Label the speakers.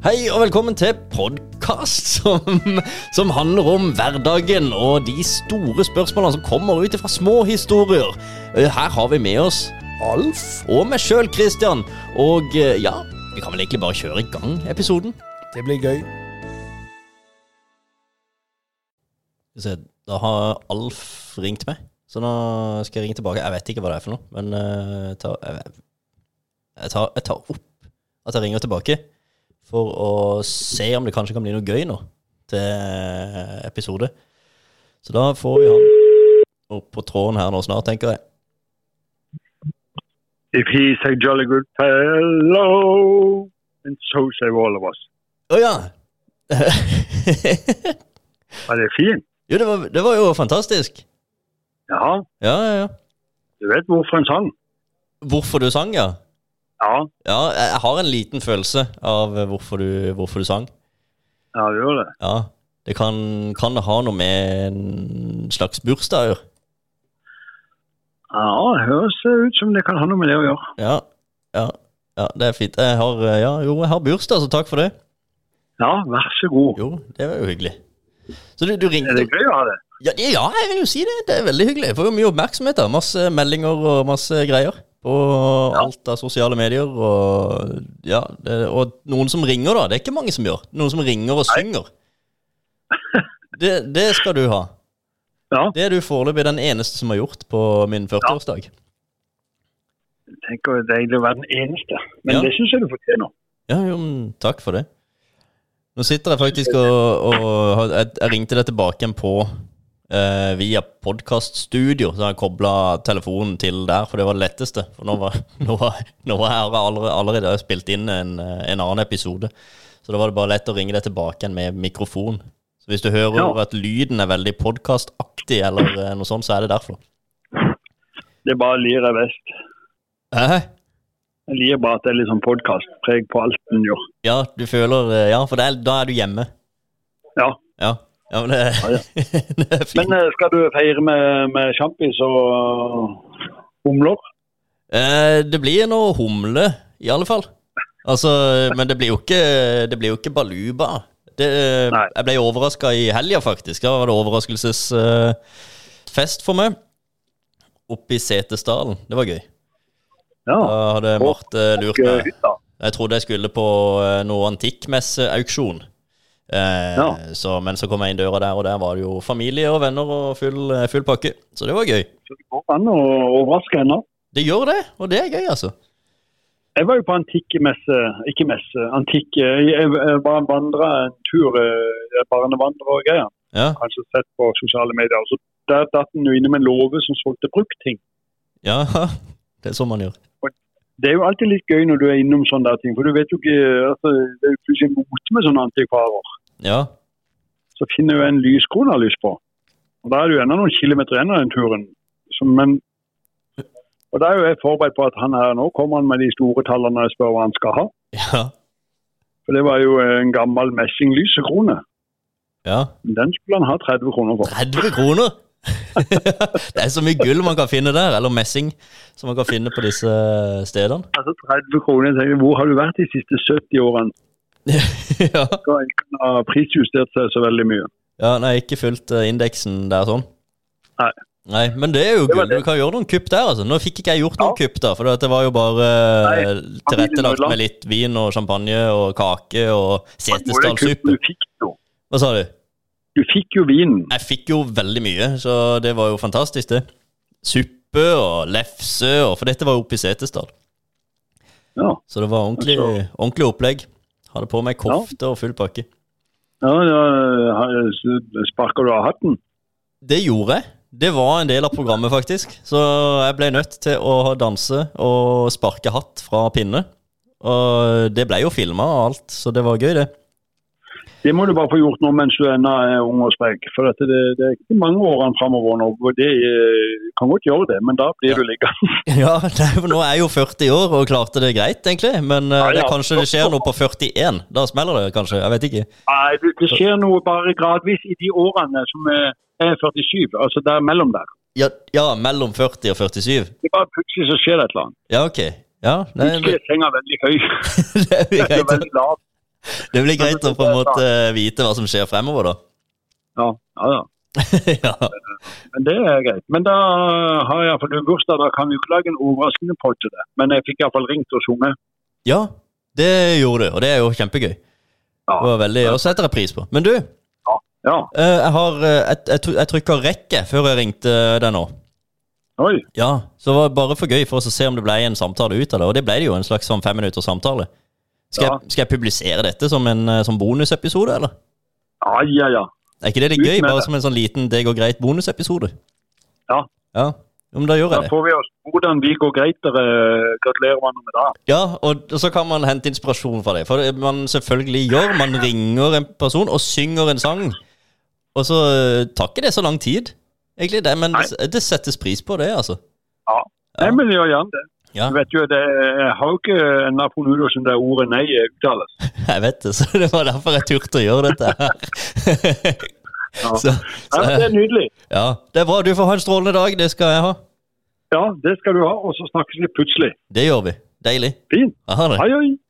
Speaker 1: Hei og velkommen til podkast som, som handler om hverdagen og de store spørsmålene som kommer ut fra små historier. Eh, Her har vi med oss Alf og meg sjøl, Christian. Og eh, ja, vi kan vel egentlig bare kjøre i gang episoden.
Speaker 2: Det blir gøy.
Speaker 1: Skal vi se, Da har Alf ringt meg, så nå skal jeg ringe tilbake. Jeg vet ikke hva det er for noe, men eh, jeg tar, jeg, jeg, tar, jeg tar opp at jeg ringer tilbake for å se om det kanskje kan bli noe gøy nå til eh, episode. Så da får vi han opp på tråden her nå snart, tenker jeg.
Speaker 3: If he's a jolly good fellow, and so say all of us.
Speaker 1: Å ja!
Speaker 3: Var det fint?
Speaker 1: jo, det var, det var jo fantastisk.
Speaker 3: Ja,
Speaker 1: Ja, ja, ja.
Speaker 3: du vet hvorfor en sang.
Speaker 1: Hvorfor du sang, ja?
Speaker 3: Ja,
Speaker 1: Ja, jeg jeg har en liten følelse av hvorfor du, hvorfor du sang.
Speaker 3: ja du gjør det.
Speaker 1: Ja, det kan, kan det ha noe med en slags bursdag å gjøre.
Speaker 3: Ja, det høres ut som det kan ha noe med det å gjøre.
Speaker 1: Ja, ja, ja, det er fint. Jeg har, eh, ja, jo, jeg har bursdag, så takk for det.
Speaker 3: Ja, vær så god.
Speaker 1: Jo, det var jo hyggelig. Så du, du
Speaker 3: Er
Speaker 1: ringte
Speaker 3: det gøy å ha det?
Speaker 1: ja, det- ja, jeg vil jo si det. Det er veldig hyggelig. Jeg får jo mye oppmerksomhet. da. Masse meldinger og masse greier. På alt av sosiale medier og Ja. Det, og noen som ringer, da. Det er ikke mange som gjør. Noen som ringer og synger. Det, det skal du ha.
Speaker 3: Ja,
Speaker 1: Det er du foreløpig den eneste som har gjort på min 40-årsdag.
Speaker 3: jeg tenker det er deilig å være den eneste. Men
Speaker 1: Ja.
Speaker 3: det synes jeg du fortjener.
Speaker 1: Ja, jo, men takk for det. Nå sitter jeg faktisk og, og har- jeg, jeg ringte deg tilbake igjen på eh, via podkaststudio. Så jeg kobla telefonen til der, for det var det letteste. For nå var, nå var, nå var jeg allerede, allerede spilt inn en, eh, en annen episode. Så da var det bare lett å ringe deg tilbake igjen med mikrofon. Så hvis du hører
Speaker 3: Ja.
Speaker 1: at lyden er veldig podkastaktig eller eh, noe sånt, så er det derfor.
Speaker 3: Det er bare lir jeg best.
Speaker 1: Hæ?
Speaker 3: Jeg liker bare at det er litt sånn podcastpreg på alt den gjør.
Speaker 1: Ja, du føler eh, Ja, for det er, da er du hjemme.
Speaker 3: Ja,
Speaker 1: Ja. ja men det,
Speaker 3: Ja, ja.
Speaker 1: det er fint.
Speaker 3: men eh, skal du feire med, med sjampis og humler?
Speaker 1: Eh, det blir noe humle, i alle fall. Altså, men det blir jo ikke, det blir jo ikke baluba. Det, eh,
Speaker 3: Nei.
Speaker 1: jeg ble overraska i helga, faktisk. Da var det overraskelsesfest eh, for meg. Oppe i Setesdalen. Det var gøy.
Speaker 3: Ja,
Speaker 1: Da hadde
Speaker 3: Og-
Speaker 1: Marte lurt
Speaker 3: og eh,
Speaker 1: meg.
Speaker 3: hytta.
Speaker 1: Jeg trodde jeg skulle på eh, noe antikkmesseauksjon. Eh,
Speaker 3: Ja.
Speaker 1: så, men så kom jeg inn døra der, og der var det jo familie og venner og full, eh, full pakke. Så det var gøy.
Speaker 3: Så det går an å overraske henne.
Speaker 1: Det gjør det, og det er gøy, altså.
Speaker 3: Jeg var jo på antikkmesse, ikke messe, antikk... Jeg, jeg, jeg bare vandra en tur, eh, barnevandrer og greier.
Speaker 1: Ja,
Speaker 3: Kanskje sett på sosiale medier. Så der datt en jo innom en låve som solgte bruktting.
Speaker 1: ja. Det er sånn man gjør.
Speaker 3: Det er jo alltid litt gøy når du er innom sånne der ting, for du vet jo ikke altså, Det er jo plutselig en mote med sånne antikvarer.
Speaker 1: Ja.
Speaker 3: Så finner du en lyskron har lyst på. Og Da er det jo ennå noen kilometer igjen av den turen. Så, men, og da er jo jeg forberedt på at han her nå kommer han med de store tallene når jeg spør hva han skal ha.
Speaker 1: Ja.
Speaker 3: For det var jo en gammel messinglysekrone.
Speaker 1: ja.
Speaker 3: Den skulle han ha 30 kroner for.
Speaker 1: 30 kroner! det er så mye gull man kan finne der, eller messing, som man kan finne på disse stedene.
Speaker 3: Altså 30 kroner, jeg tenker, Hvor har du vært de siste 70 årene?
Speaker 1: ja.
Speaker 3: Da har ikke han ha prisjustert seg så veldig mye.
Speaker 1: ja, nei, ikke fulgt eh, indeksen der sånn.
Speaker 3: Nei.
Speaker 1: Nei, Men det er jo
Speaker 3: Det var
Speaker 1: gull. Du kan gjøre noen kupp der, altså. Nå fikk ikke jeg gjort noen kupp der, for det var jo bare eh, tilrettelagt med litt vin og champagne og kake og
Speaker 3: Du
Speaker 1: setesdalsuppe.
Speaker 3: fikk, jo.
Speaker 1: Hva sa du?
Speaker 3: du fikk jo vinen.
Speaker 1: Jeg fikk jo veldig mye, så det var jo fantastisk, det. Suppe og lefse, og, for dette var jo oppe i Setesdal.
Speaker 3: Ja.
Speaker 1: Så det var ordentlig,
Speaker 3: Altså-
Speaker 1: ordentlig opplegg. Hadde på meg kofte og full pakke.
Speaker 3: ja, ja Sparker du av hatten?
Speaker 1: Det gjorde jeg. Det var en del av programmet, faktisk. Så jeg ble nødt til å danse og sparke hatt fra pinne. Og det ble jo filma og alt, så det var gøy, det.
Speaker 3: Det må du bare få gjort nå mens du ennå er ung og sprek. For dette, det, det er ikke mange årene framover nå. hvor Det eh, kan godt gjøre det, men da blir du liggende.
Speaker 1: Ja, nei, for nå er jeg jo 40 år og klarte det greit, egentlig. Men eh,
Speaker 3: Ja,
Speaker 1: det,
Speaker 3: ja.
Speaker 1: kanskje det skjer noe på 41. Da smeller det kanskje. Jeg vet ikke.
Speaker 3: Nei, det, det skjer noe bare gradvis i de årene som eh, er 47, altså der mellom der.
Speaker 1: Ja, ja mellom 40 og 47.
Speaker 3: Det er bare plutselig så skjer det et eller annet.
Speaker 1: Ja, ok. Ja, nei,
Speaker 3: Plutselig er senga veldig høy.
Speaker 1: det er jo
Speaker 3: Det er
Speaker 1: greit.
Speaker 3: veldig lav.
Speaker 1: Det blir greit å på en måte vite hva som skjer fremover, da.
Speaker 3: Ja, ja, ja.
Speaker 1: ja.
Speaker 3: Men det er greit. Men da har jeg iallfall du bursdag, da kan vi jo ikke lage en overraskende podd til det. Men jeg fikk iallfall ringt og sunget.
Speaker 1: ja, det gjorde du, og det er jo kjempegøy.
Speaker 3: Ja.
Speaker 1: Det var veldig, Og setter jeg pris på. Men du, eh,
Speaker 3: ja.
Speaker 1: jeg har eh, Jeg, jeg, tr- jeg trykka rekke før jeg ringte deg nå.
Speaker 3: Oi.
Speaker 1: Ja, så det var bare for gøy for oss å se om det ble en samtale ut av det, og det ble det jo, en slags sånn femminutters samtale. Skal,
Speaker 3: Ja.
Speaker 1: jeg, skal jeg publisere dette som en eh, som bonusepisode, eller?
Speaker 3: Ja, ja, ja.
Speaker 1: Er ikke det litt
Speaker 3: Ut
Speaker 1: gøy?
Speaker 3: med
Speaker 1: Bare
Speaker 3: det.
Speaker 1: som en sånn liten det går greit bonusepisode?
Speaker 3: Ja.
Speaker 1: Ja, Jo, men da gjør
Speaker 3: Da
Speaker 1: jeg det.
Speaker 3: får vi oss hvordan vi går greit dere. Gratulerer hverandre med det.
Speaker 1: Ja, og og så kan man hente inspirasjon fra det. For det man selvfølgelig gjør, man ringer en person og synger en sang. Og så eh, tar ikke det så lang tid, egentlig, det, men
Speaker 3: Nei.
Speaker 1: det, det settes pris på, det, altså. Ja.
Speaker 3: Nei, men gjør gjerne det.
Speaker 1: Ja.
Speaker 3: Du vet jo, det jeg har jo ikke en napoleon som det ordet nei uttales.
Speaker 1: Jeg vet det, så det var derfor jeg turte å gjøre dette her.
Speaker 3: Ja.
Speaker 1: Så,
Speaker 3: Nei, men det
Speaker 1: så,
Speaker 3: er nydelig.
Speaker 1: ja, det er bra. Du får ha en strålende dag. Det skal jeg ha.
Speaker 3: Ja, det skal du ha. Og så snakkes vi plutselig.
Speaker 1: Det gjør vi. Deilig.
Speaker 3: Fint.
Speaker 1: Ha det.
Speaker 3: Hei, hei.